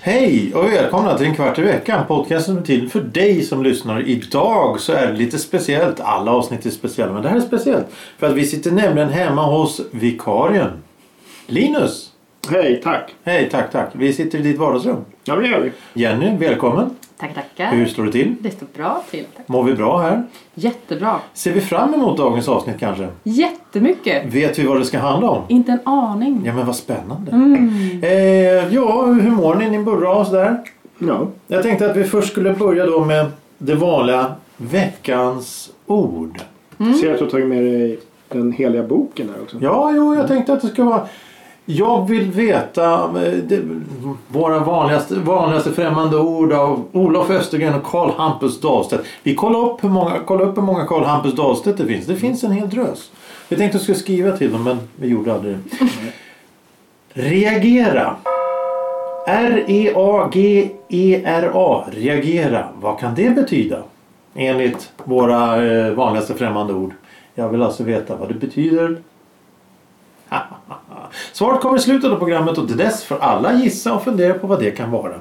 Hej och välkomna till en kvart i veckan. Podcasten är till för dig som lyssnar. Idag så är det lite speciellt. Alla avsnitt är speciella men det här är speciellt. För att vi sitter nämligen hemma hos vikarien. Linus! Hej, tack. Hej, tack, tack. Vi sitter i ditt vardagsrum. Ja, men det gör vi. Jenny, välkommen. Tackar, tackar. Hur står det till? Det står bra till. Tack. Mår vi bra här? Jättebra. Ser vi fram emot dagens avsnitt kanske? Jättemycket. Vet vi vad det ska handla om? Inte en aning. Ja men vad spännande. Eh, ja, hur mår ni? Ni mår bra och sådär? Ja. Jag tänkte att vi först skulle börja då med det vanliga veckans ord. Ser att du har tagit med dig den heliga boken här också. Ja, jo, jag tänkte att det skulle vara... Jag vill veta eh, det, våra vanligaste, vanligaste främmande ord av Olof Östergren och Karl Hampus Dahlstedt. Vi kollar upp hur många, kollar upp hur många Karl Hampus Dahlstedt det finns. Det finns en hel drös. Vi tänkte att vi skulle skriva till dem, men vi gjorde aldrig det. Reagera. E R-E-A-G-E-R-A. E Reagera. Vad kan det betyda? Enligt våra eh, vanligaste främmande ord. Jag vill alltså veta vad det betyder. Svaret kommer i slutet av programmet och till dess får alla gissa och fundera på vad det kan vara.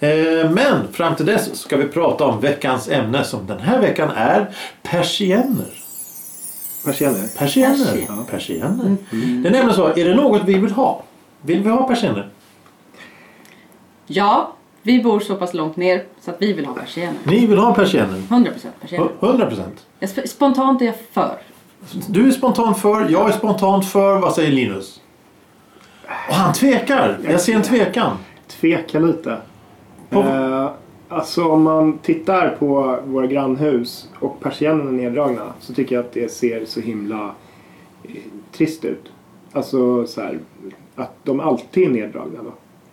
Eh, Men fram till dess ska vi prata om veckans ämne som den här veckan är persienner. Persienner. Persienner. Persien. Persienner. Det är nämligen så, är det något vi vill ha? Vill vi ha persienner? Ja, vi bor så pass långt ner så att vi vill ha persienner. Ni vill ha persienner? 100% persienner. 100 procent. Jag sp- Spontant är jag för. Du är spontant för, jag är spontant för. Vad säger Linus? Och han tvekar! Jag ser en tvekan. Tveka lite. På- Eh, alltså om man tittar på våra grannhus och persiennerna är neddragna så tycker jag att det ser så himla eh, trist ut. Alltså så här att de alltid är neddragna då.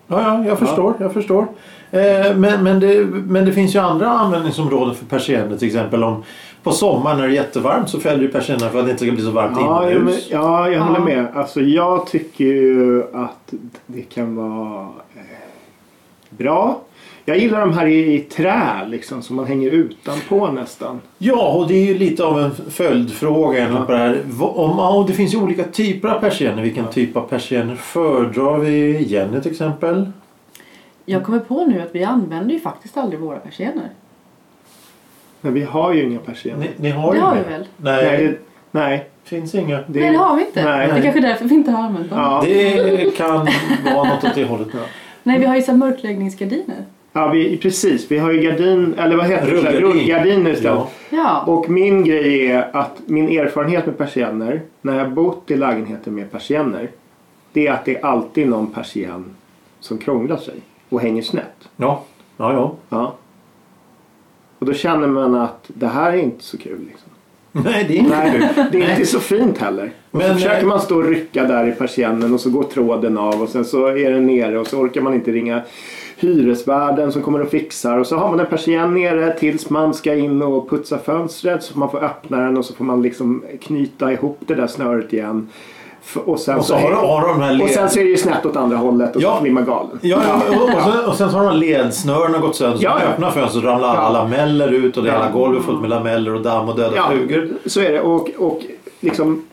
Ja, ja, jag förstår. Jag förstår. Eh, men, men, det, men det finns ju andra användningsområden för persienner. Till exempel om på sommaren när det är jättevarmt så fäller ju persiennerna för att det inte ska bli så varmt Ja, jag, men, inomhus. ja, jag håller Ja. med. Alltså, jag tycker ju att det kan vara eh, bra. Jag gillar de här i, i trä liksom som man hänger utanpå nästan. Ja, och det är ju lite av en följdfråga. Ja. På det, här. Va- Om, ja, och det finns ju olika typer av persienner. Vilken typ av persienner föredrar vi? Jenny till exempel? Jag kommer på nu att vi använder ju faktiskt aldrig våra persienner. Men vi har ju inga persienner. Ni, ni har Det ju har inga. vi väl? Nej, Nej, det, nej, det finns inga. det, Nej, det har vi inte. nej. Det är kanske är därför vi inte har använt dem. Ja, Det kan vara något åt det hållet. Nej, vi har ju så här mörkläggningsgardiner. ja vi, precis. Vi har ju gardin, eller vad heter det? Rullgardin. Rullgardiner istället. Ja. Ja. Och min grej är att min erfarenhet med persienner, när jag bott i lägenheter med persienner, det är att det är alltid någon persien som krånglar sig och hänger snett. Ja, ja, ja. Ja. Och då känner man att det här är inte så kul. Liksom. Nej, det är inte Nej, kul. det är inte så fint heller. Och Men, så försöker eh, man stå och rycka där i persiennen och så går tråden av och sen så är den nere och så orkar man inte ringa hyresvärden som kommer och fixar och så har man en persienn nere tills man ska in och putsa fönstret så man får öppna den och så får man liksom knyta ihop det där snöret igen. F- Och sen, Och så har du har de här Alltså, och led... sen så är det ju snett åt andra hållet och Ja. så blir man galen. Ja, ja, och, och, sen, och sen så har de ledsnörena gått sönder. Så Ja, ja, ja. öppnar fönstret och ramlar alla Ja. lameller ut och det Ja. hela golvet är fullt med lameller och damm och döda Ja, flugor. så är det. Och, och liksom,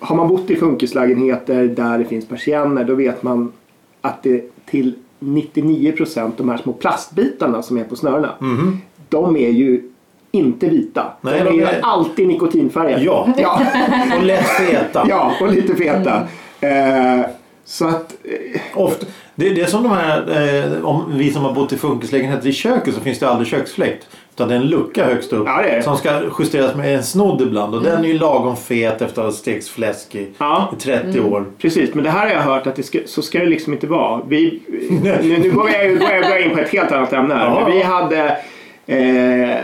har man bott i funkislägenheter där det finns persienner då vet man att det till 99 procent de här små plastbitarna som är på snörena. De är ju inte vita. Mhm. Nej, de, de är är- ju alltid nikotinfärgade. Ja, Ja. och lätt feta. ja, och lite feta. Mm. Eh, så att... eh, Ofta, det, det är som de här, eh, om vi som har bott i funkislägenheter i köket så finns det aldrig köksfläkt. Utan det är en lucka högst upp Ja, det är det. som ska justeras med en snodd ibland. Och den är ju lagom fet efter att ha stekt fläsk i, Ja. Mm. i 30 år. Precis, men det här har jag hört att det ska, så ska det liksom inte vara. Vi, nu nu går jag, går jag går jag in på ett helt annat ämne här. Ja. Men vi hade eh,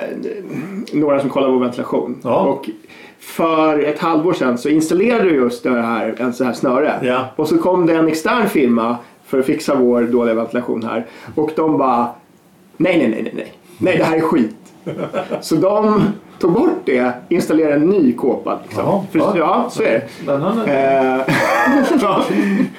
några som kollade vår ventilation. Ja. Och för ett halvår sedan så installerade vi just det här, en sån här snöre. Ja. Och så kom det en extern firma för att fixa vår dåliga ventilation här. Och de bara, nej, nej, nej, nej, nej, nej, det här är skit. Så de tog bort det, installerade en ny kåpa. Liksom. Jaha, för, ja. ja. så är det. Spännande. Eh, ja,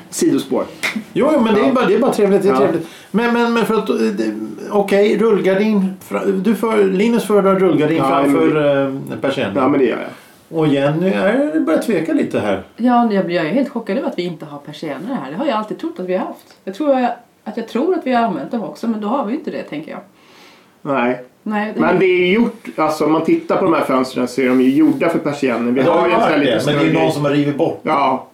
Sidospår. Jo, jo, men det är Ja. bara, det är bara trevligt. Det är Ja. trevligt. Men, men, men för att... eh, det- Okej, rullgardin. fra- Du för, Linus föredrar rullgardin Ja, framför eh, persiennen. Ja, men det gör jag. Och Jenny är, börjar tveka lite här. Ja, jag blir- jag är helt chockad över att vi inte har persienner här. Det har jag alltid trott att vi har haft. Jag tror jag att jag tror att vi har använt dem också men då har vi ju inte det tänker jag. Nej. Nej, det- Men det är ju gjort, alltså om man tittar på de här fönstren så är de ju gjorda för persienner. Vi Jag har har ju en sån här hört lite det, men det är grej. någon som har rivit bort. Ja.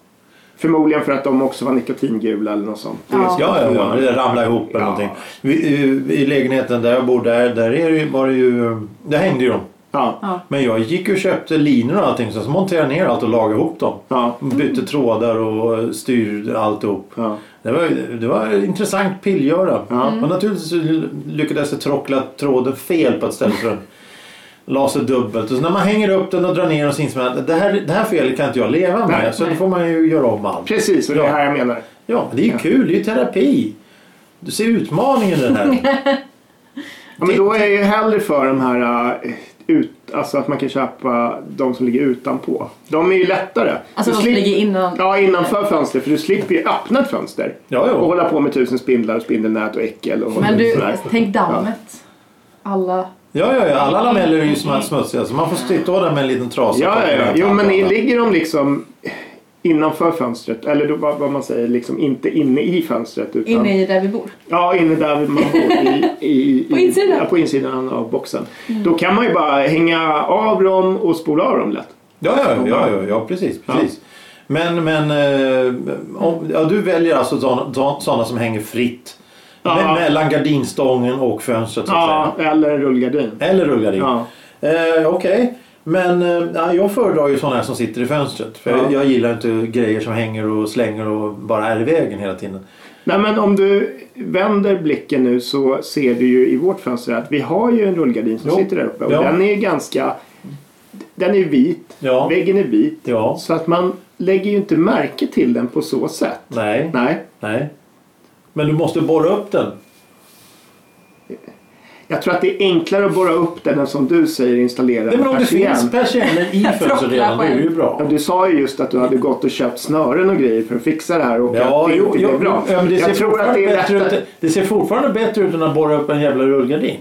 Förmodligen för att de också var nikotingula eller något sånt. Det är Ja. så- Ja, ja, ja. Det ramlade ihop eller Ja. någonting. Vi, eh, I lägenheten där jag bor, där, där är det, ju- var det ju... eh, Där hängde ju de. ja. ja. Men jag gick och köpte linor och allting. Så monterade jag ner allt och lagade ihop dem. ja. Bytte trådar och styr alltihop. ja. Det var, det var en intressant pillgöra. Ja. Och naturligtvis lyckades jag trockla tråden fel på ett ställe för den la sig dubbelt. Och så när man hänger upp den och drar ner den så inser man att det här, det här felet kan inte jag leva med. Nej. så då Nej. får man ju göra om allt. Precis, och det är det här jag menar. Ja, men det är ju kul. Det är ju terapi. Du ser utmaningen i det här. Ja, men då är jag ju hellre för de här eh, ut, alltså att man kan köpa de som ligger utanpå. De är ju lättare. Du Alltså de som slipper- ligger innan. Ja, innanför fönstret. För du slipper ju öppna ett fönster. Ja, Och jo. hålla på med tusen spindlar och spindelnät och äckel och Men du, sådär. tänk dammet. Alla. Ja, ja, ja. Alla lameller är ju som allt smutsiga. Så man får stå där med en liten trasa. Ja, på ja, ja. den. Jo, men i- ligger de liksom innanför fönstret? Eller då, vad, vad man säger, liksom inte inne i fönstret. Utan, Inne i där vi bor. Ja, inne där man bor. I, i, i, På insidan? Mm. Ja, på insidan av boxen. Då kan man ju bara hänga av dem och spola av dem lätt. Ja, ja, ja, ja, ja precis. precis. Men, men eh, om, ja, du väljer alltså sådana som hänger fritt. Ja. Me- Mellan gardinstången och fönstret så att Ja, eller en rullgardin. säga. Eller rullar in. Ja. Eh, Okej. Men eh, ja, jag föredrar ju sådana här som sitter i fönstret. För Ja. jag, jag gillar inte grejer som hänger och slänger och bara är i vägen hela tiden. Nej, men om du vänder blicken nu så ser du ju i vårt fönster att vi har ju en rullgardin som Jo. sitter där uppe. Och Ja. den är ju ganska... Den är vit. Ja. Väggen är vit. Ja. Så att man lägger ju inte märke till den på så sätt. Nej. Nej. Nej. Men du måste borra upp den. Jag tror att det är enklare att borra upp den än som du säger installera Nej, men om det persienn. finns persienner i fönstret redan, då är det ju Ja, bra. du sa ju just att du hade gått och köpt snören och grejer för att fixa det här och Ja, att det jo, inte jo, blev bra. Ja, men det, ser jag tror att det är bättre lättare. ut, det ser fortfarande bättre ut än att borra upp en jävla rullgardin.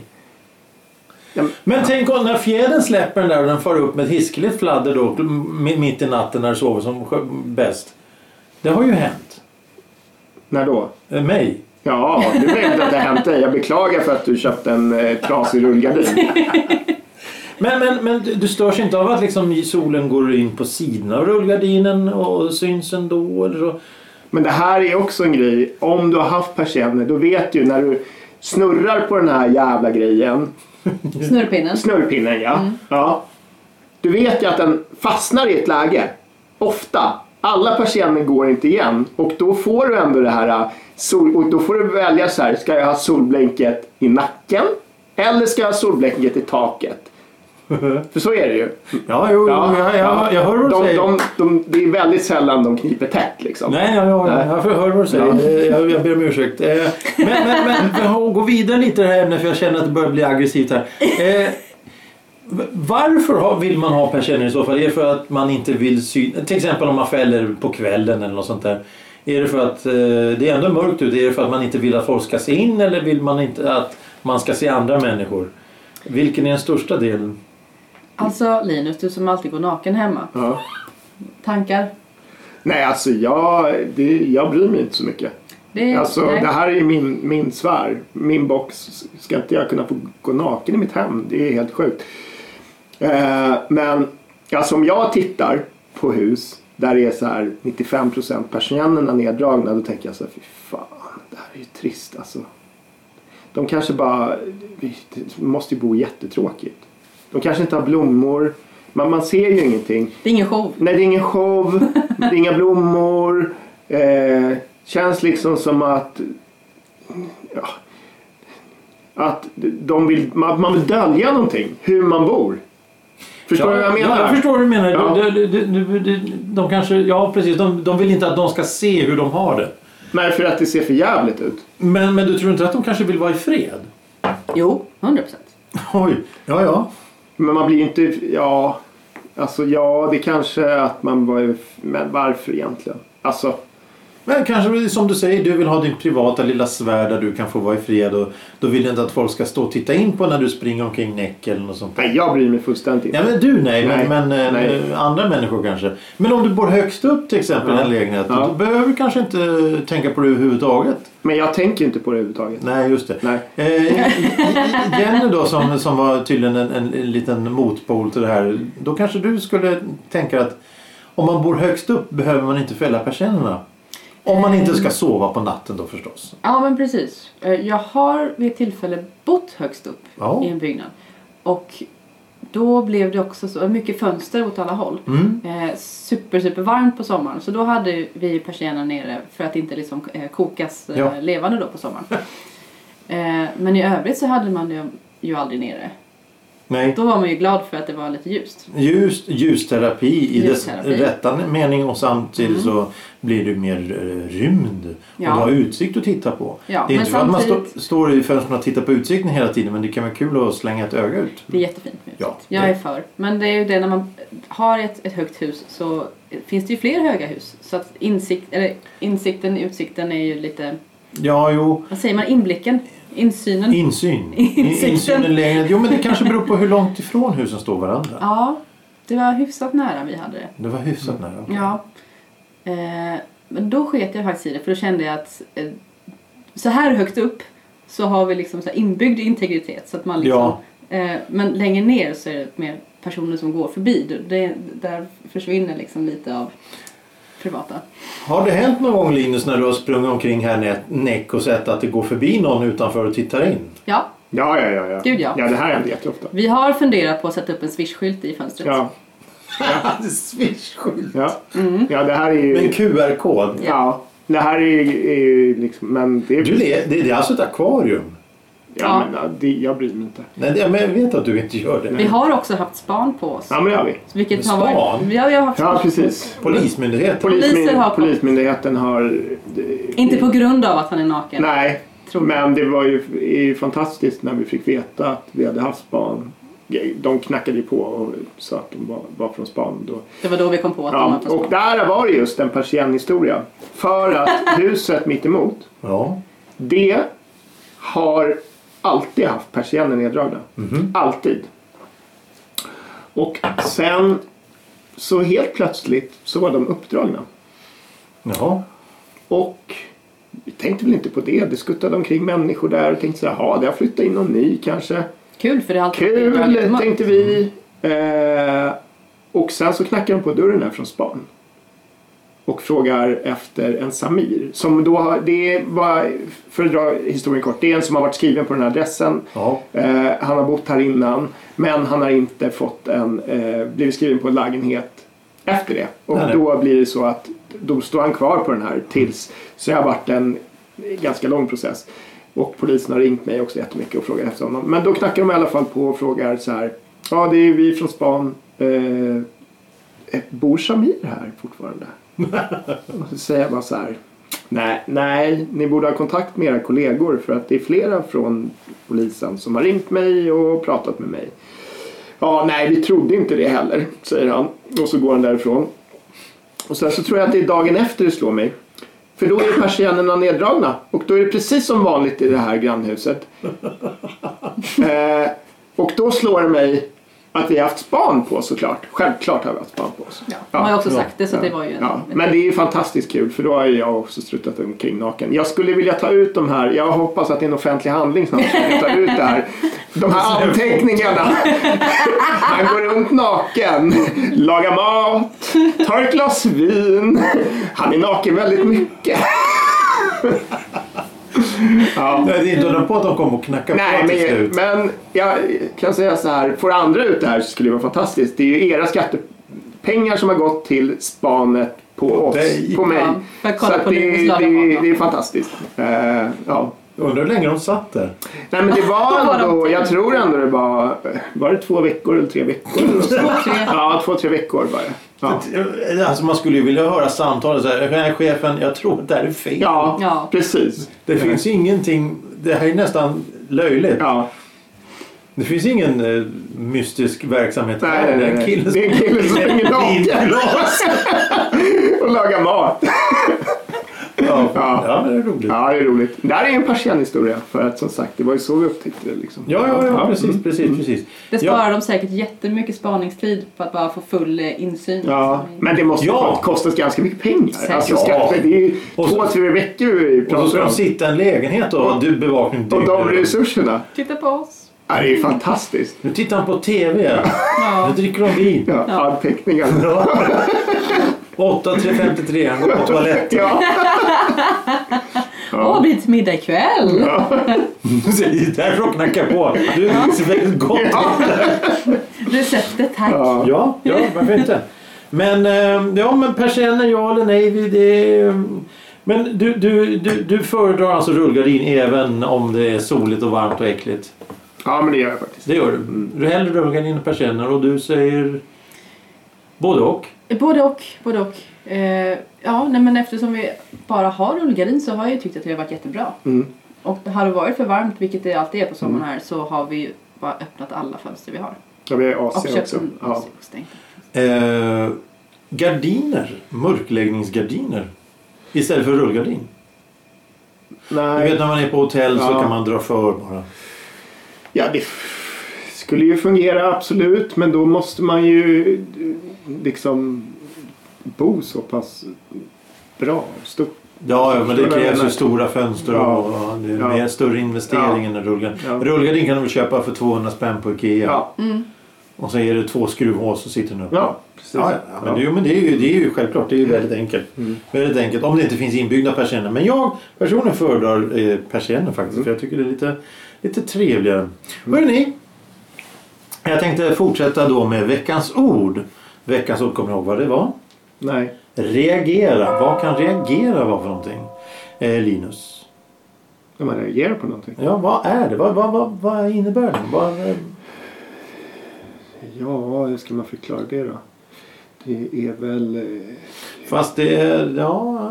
Ja, men- Men tänk om när fjädern släpper den där och den far upp med ett hiskeligt fladder då m- mitt i natten när du sover som sjö- bäst. Det har ju hänt. När då? Eh, Mig. Ja, det vet inte att det har hänt dig. Jag beklagar för att du köpte en eh, trasig rullgardin. Men, men, men du- du störs inte av att liksom solen går in på sidan av rullgardinen och syns ändå? Eller så. Men det här är också en grej. Om du har haft persienner, då vet du när du snurrar på den här jävla grejen. Snurrpinnen. Snurrpinnen, ja. Mm. ja. Du vet ju att den fastnar i ett läge. Ofta. Alla persienner går inte igen. Och då får du ändå det här... eh, Sol, och då får du välja så här. Ska jag ha solblänket i nacken? Eller ska jag ha solblänket i taket? För så är det ju. Ja, jo, Mm, ja, jag, jag, jag hör vad du de, säger. de, de, Det är väldigt sällan de kniper tätt liksom. Nej, ja, ja, Nej. jag hör vad du säger. Eh, Jag, jag ber om ursäkt. Eh, Men, men, men vi har- gå vidare lite i det här ämnet för jag känner att det börjar bli aggressivt här. Eh, v- Varför har- vill man ha persienner i så fall? Är det för att man inte vill synas? Till exempel om man fäller på kvällen eller något sånt där. Är det för att eh, det är ändå mörkt ute? Är det för att man inte vill att folk ska se in eller vill man inte att man ska se andra människor? Vilken är den största delen? Alltså Linus, du som alltid går naken hemma. Ja. Tankar? Nej, alltså jag, det, jag bryr mig inte så mycket. Det, Alltså, nej. det här är ju min, min sfär. Min box. Ska inte jag kunna få gå naken i mitt hem? Det är helt sjukt. Eh, men alltså, om jag tittar på hus där det är så här 95% persiennerna neddragna. Då tänker jag så här, fy fan. Det här är ju trist alltså. De kanske bara vi- det måste ju bo jättetråkigt. De kanske inte har blommor. Man, man ser ju ingenting. det är ingen show. Nej, det är ingen show, det är inga blommor. Eh, känns liksom som att... Ja, att de vill, man, man vill dölja någonting, hur man bor. Förstår du vad jag menar? Ja, jag förstår vad du menar. Ja. De, de, de, de, de kanske, ja precis, de, de vill inte att de ska se hur de har det. Nej, för att det ser för jävligt ut. Men, men du tror inte att de kanske vill vara i fred? Jo, 100 procent. Oj, ja ja. Men man blir ju inte... Ja, alltså ja, det kanske att man var... Men varför egentligen? Alltså, Men kanske som du säger, du vill ha din privata lilla sfär där du kan få vara i fred och då vill du inte att folk ska stå och titta in på när du springer omkring näck eller något sånt. Nej, jag bryr mig fullständigt inte. Ja, men du nej, Nej, men, men eh, nej. andra människor kanske. Men om du bor högst upp till exempel i Ja. en lägenhet, Ja. då behöver du kanske inte tänka på det överhuvudtaget. Men jag tänker inte på det överhuvudtaget. Nej, just det. Nej. Eh, Jenny då som, som var tydligen en, en, en liten motpol till det här. Då kanske du skulle tänka att om man bor högst upp behöver man inte fälla persiennerna. Om man inte ska sova på natten då förstås. Ja, men precis. Eh, Jag har vid ett tillfälle bott högst upp Ja. i en byggnad. Och då blev det också så mycket fönster åt alla håll. Mm. Eh, super, super varmt på sommaren. Så då hade vi persiennerna nere för att inte liksom eh, kokas eh, Ja. levande då på sommaren. eh, men i övrigt så hade man ju, ju aldrig nere. Nej. Då var man ju glad för att det var lite ljust. Ljus, ljusterapi i dess Ljusterapi. Mm. rätta mening och samtidigt så blir du mer eh, rymd och Ja. har utsikt att titta på. Ja, det är men inte så att man stå, samtidigt- står i fönstren och tittar på utsikten hela tiden men det kan vara kul att slänga ett öga ut. Det är jättefint med utsikt. Ja, jag det- är för. Men det är ju det när man har ett, ett högt hus så finns det ju fler höga hus. Så att insikt, eller insikten, utsikten är ju lite, Ja, jo. vad säger man, inblicken? Insynen? Insyn. Insikten. Insyn i lägenheten. Jo, men det kanske beror på hur långt ifrån husen står varandra. ja, det var hyfsat nära vi hade det. Det var hyfsat nära. Ja. Eh, men då sket jag faktiskt i det för då kände jag att eh, så här högt upp så har vi liksom så här inbyggd integritet så att man liksom, eh, men längre ner så är det mer personer som går förbi. Det- Det, där försvinner liksom lite av privata. Har det hänt någon gång Linus när du har sprungit omkring här nä- näck och sett att det går förbi någon utanför och tittar in? Ja, Ja, ja, ja. ja. Gud, ja. ja det här händer jätteofta. vi har funderat på att sätta upp en swish-skylt i fönstret. Ja, det är swish-skylt. ja. ja, det här är ju... En QR-kod. Ja, det här är ju, är ju liksom... Men det är... Du, det, är- det det är alltså ett akvarium. Ja, men, ja, det, jag bryr mig inte. Nej, det- men jag vet att du inte gör det. Vi har också haft span på oss. Ja, men det gör vi. Vilket Span? har varit... Ja, vi har haft Ja, span. precis. Polismyndigheten. Poliser har- Polismyndigheten har... Inte på grund av att han är naken. Nej, Tror jag. men det var ju, är ju fantastiskt när vi fick veta att vi hade haft span. De knackade ju på och sa att de var, var från span. Då. Det var då vi kom på att han var Ja, på span. och där var det just en persiennhistoria. För att huset mitt emot, Ja. det har alltid haft persienner neddragna. Alltid. Och sen så helt plötsligt så var de uppdragna. Jaha. Och vi tänkte väl inte på det. Det skuttade omkring människor där och tänkte så här, "Jaha, det har flyttat in någon ny kanske. Kul för det är alltid Kul, mörkt. tänkte vi. Eh, och sen så knackar de på dörren här från span. Och frågar efter en Samir. Som då, har- det var, för att dra historien kort, det är en som har varit skriven på den här adressen. Ja. Eh, han har bott här innan men han har inte fått en, eh, blivit skriven på en lägenhet efter det. Och Nej, nej. då blir det så att då står han kvar på den här tills. Så det har varit en ganska lång process. Och polisen har ringt mig också jättemycket och frågat efter honom. Men då knackar de i alla fall på och frågar så här. Ja, det är vi från span. Eh, bor Samir här fortfarande? och så säger jag bara så här. Nej, nej, ni borde ha kontakt med era kollegor för att det är flera från polisen som har ringt mig och pratat med mig. Ja, nej, vi trodde inte det heller, säger han. Och så går han därifrån. Och sen så tror jag att det är dagen efter det slår mig. För då är persiennerna neddragna och då är det precis som vanligt i det här grannhuset. eh, och då slår det mig att vi har haft span på oss, såklart. Självklart har vi haft span på oss. Ja, de har ju också ja, sagt det så Ja, det var ju en... ja. Men det är ju fantastiskt kul för då har ju jag också struttat omkring naken. Jag skulle vilja ta ut de här, jag hoppas att det är en offentlig handling snart så jag kan ta ut det här. De här anteckningarna. Han går runt naken, lagar mat, tar ett glas vin. Han är naken väldigt mycket. Ja. Nej, det är inte på att de kom och knackade Nej, på till men, slut. men jag kan säga så här. Får andra ut det här så skulle det vara fantastiskt. Det är ju era skattepengar som har gått till spanet på, oss. dig. På mig. Ja, för att kolla så att på det, Linus det, laga det, mat. är fantastiskt. Eh, ja. Undrar hur länge de satt där. Nej, men det var Vad var ändå, de- jag tror ändå det var, var det två veckor eller tre veckor? tre. ja, två, tre veckor var det. Ja. Alltså, man skulle ju vilja höra samtalet. Så här, "Nej, chefen, jag tror att det här är fel. Mm. Ja, Ja. precis. Det finns ingenting. Det här är nästan löjligt. Ja. Det finns ingen eh, mystisk verksamhet här. Nej, nej, nej, Det är en nej. kille Det är en kille som springer som- naken Vinglas. och lagar mat. fan. Ja, det är roligt. Ja, det är roligt. Det här är en persiennhistoria. För att som sagt, det var ju så vi upptäckte det. Liksom. Ja, ja, ja, Mm. precis, precis, precis. Det Ja, sparar de säkert jättemycket spaningstid på att bara få full eh, insyn. Ja, liksom. men det måste ju Ja. ha kostat ganska mycket pengar. Säkert. Alltså, Ja. skatte, det är ju Och så- två, tre veckor vi och så ska pratar de om. sitta i en lägenhet och du bevakning Och de dygnet runt. resurserna. Titta på oss. Ja, det är ju fantastiskt. Nu tittar han på TV. Ja. Nu dricker de vin. Ja, Ja. Anteckningar. 8353, han går på toaletten. Ja. Åh, blir det inte middag ikväll? Där knackar på. Du ser väldigt gott ut. Receptet, tack. Ja. Ja, ja varför inte? Men, eh, ja, men persienner, ja eller nej. vi- Det, är- men du, du, du, du föredrar alltså rullgardin även om det är soligt och varmt och äckligt? ja, men det gör jag faktiskt. Det gör du? Du hellre rullgardin än persienner och du säger både och? Både och. Både och. Eh, ja, nej, men eftersom vi bara har rullgardin så har jag ju tyckt att det har varit jättebra. Mm. Och det har det varit för varmt, vilket det alltid är på sommaren här, så har vi ju bara öppnat alla fönster vi har. Ja, vi har AC Och köpt också. en Ja. och stängt. Eh, gardiner, mörkläggningsgardiner istället för rullgardin. Du Nej. vet när man är på hotell så Ja. kan man dra för bara. Ja, det f- skulle ju fungera absolut, men då måste man ju eh, liksom bo så pass bra. Stort. Ja, ja, men det Förstår du vad jag krävs ju menar? stora fönster Ja. och och det är Ja. mer större investering Ja. än en rullgardin. Ja. Rullgardin kan du väl köpa för 200 spänn på Ikea. Ja, Mm. Och så är det två skruvhås och sitter den uppe. ja precis. Ja, Mm. ja, men, det, jo, men det, är ju, det är ju självklart. Det är ju väldigt enkelt. Väldigt enkelt. Om det inte finns inbyggda persienner. Men jag personligen föredrar eh, persienner faktiskt. För jag tycker det är lite, lite trevligare. Hörrni. Jag tänkte fortsätta då med veckans ord. Veckans ord, kommer ni ihåg vad det var? Nej. Reagera. Vad kan reagera vara för någonting? Eh, Linus. När man reagerar på någonting. Ja, vad är det? Vad, vad, vad, vad innebär det? Vad, eh, Ja, hur ska man förklara det då? Det är väl... eh, fast det är... Ja...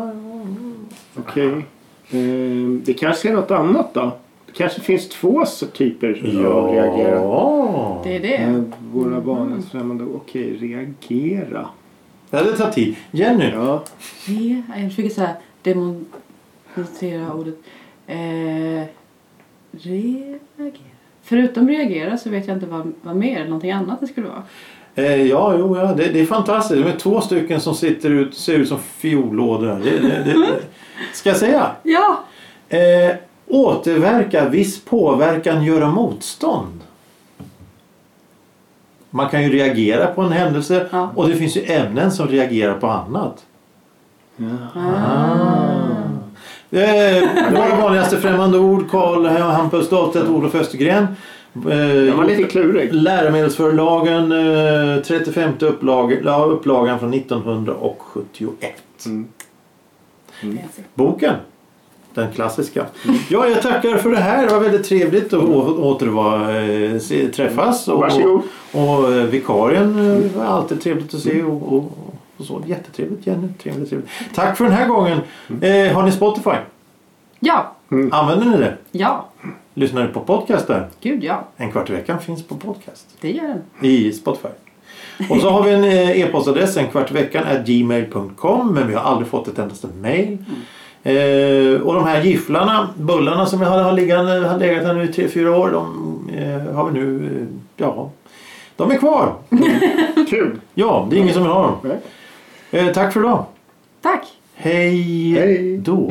Okej. Ehm, Det kanske är något annat då? Det kanske finns två så- typer av reagera. Ja. Det är det. Men Våra vanors främmande... Okej, reagera. Ja, det tar tid. Jenny. Ja. Ge- Jag försöker så här demonstrera ordet. Eh, reagera. Förutom reagera så vet jag inte vad, vad mer eller någonting annat det skulle vara. Eh, ja, jo, ja. Det, det är fantastiskt. Det är två stycken som sitter ut, ser ut som fiollådor. Det, det, det, ska jag säga? Ja! Eh, återverka, viss påverkan, göra motstånd. Man kan ju reagera på en händelse Ja. och det finns ju ämnen som reagerar på annat. Eh, våra vanligaste främmande ord, Karl Hampus Dahlstedt, Olof Östergren. Eh, Den var lite klurig. Läromedelsförlagen, eh, 35 upplag, ja, upplagan från 1971. Mm. Boken, den klassiska. Ja, jag tackar för det här. Det var väldigt trevligt att å- åter vara, eh, se- träffas. Och, Varsågod. och, och eh, vikarien eh, var alltid trevligt att se. Och, och, och så. Jättetrevligt Jenny. Trevligt, trevligt. Tack för den här gången. Eh, har ni Spotify? Ja! Använder ni det? Ja! Lyssnar ni på podcast där? Gud ja, En kvart i veckan finns på podcast. det gör den. i Spotify. Och så har vi en eh, e-postadress, en gmail.com men vi har aldrig fått ett endaste mail. Eh, och de här gifflarna, bullarna som jag hade- har liggande- har legat här nu i tre, fyra år, de eh, har vi nu, eh, ja, de är kvar. Kul. Ja, det är ingen som vill ha dem. Nej. Eh, tack för idag. Tack! Hej, Hej. då.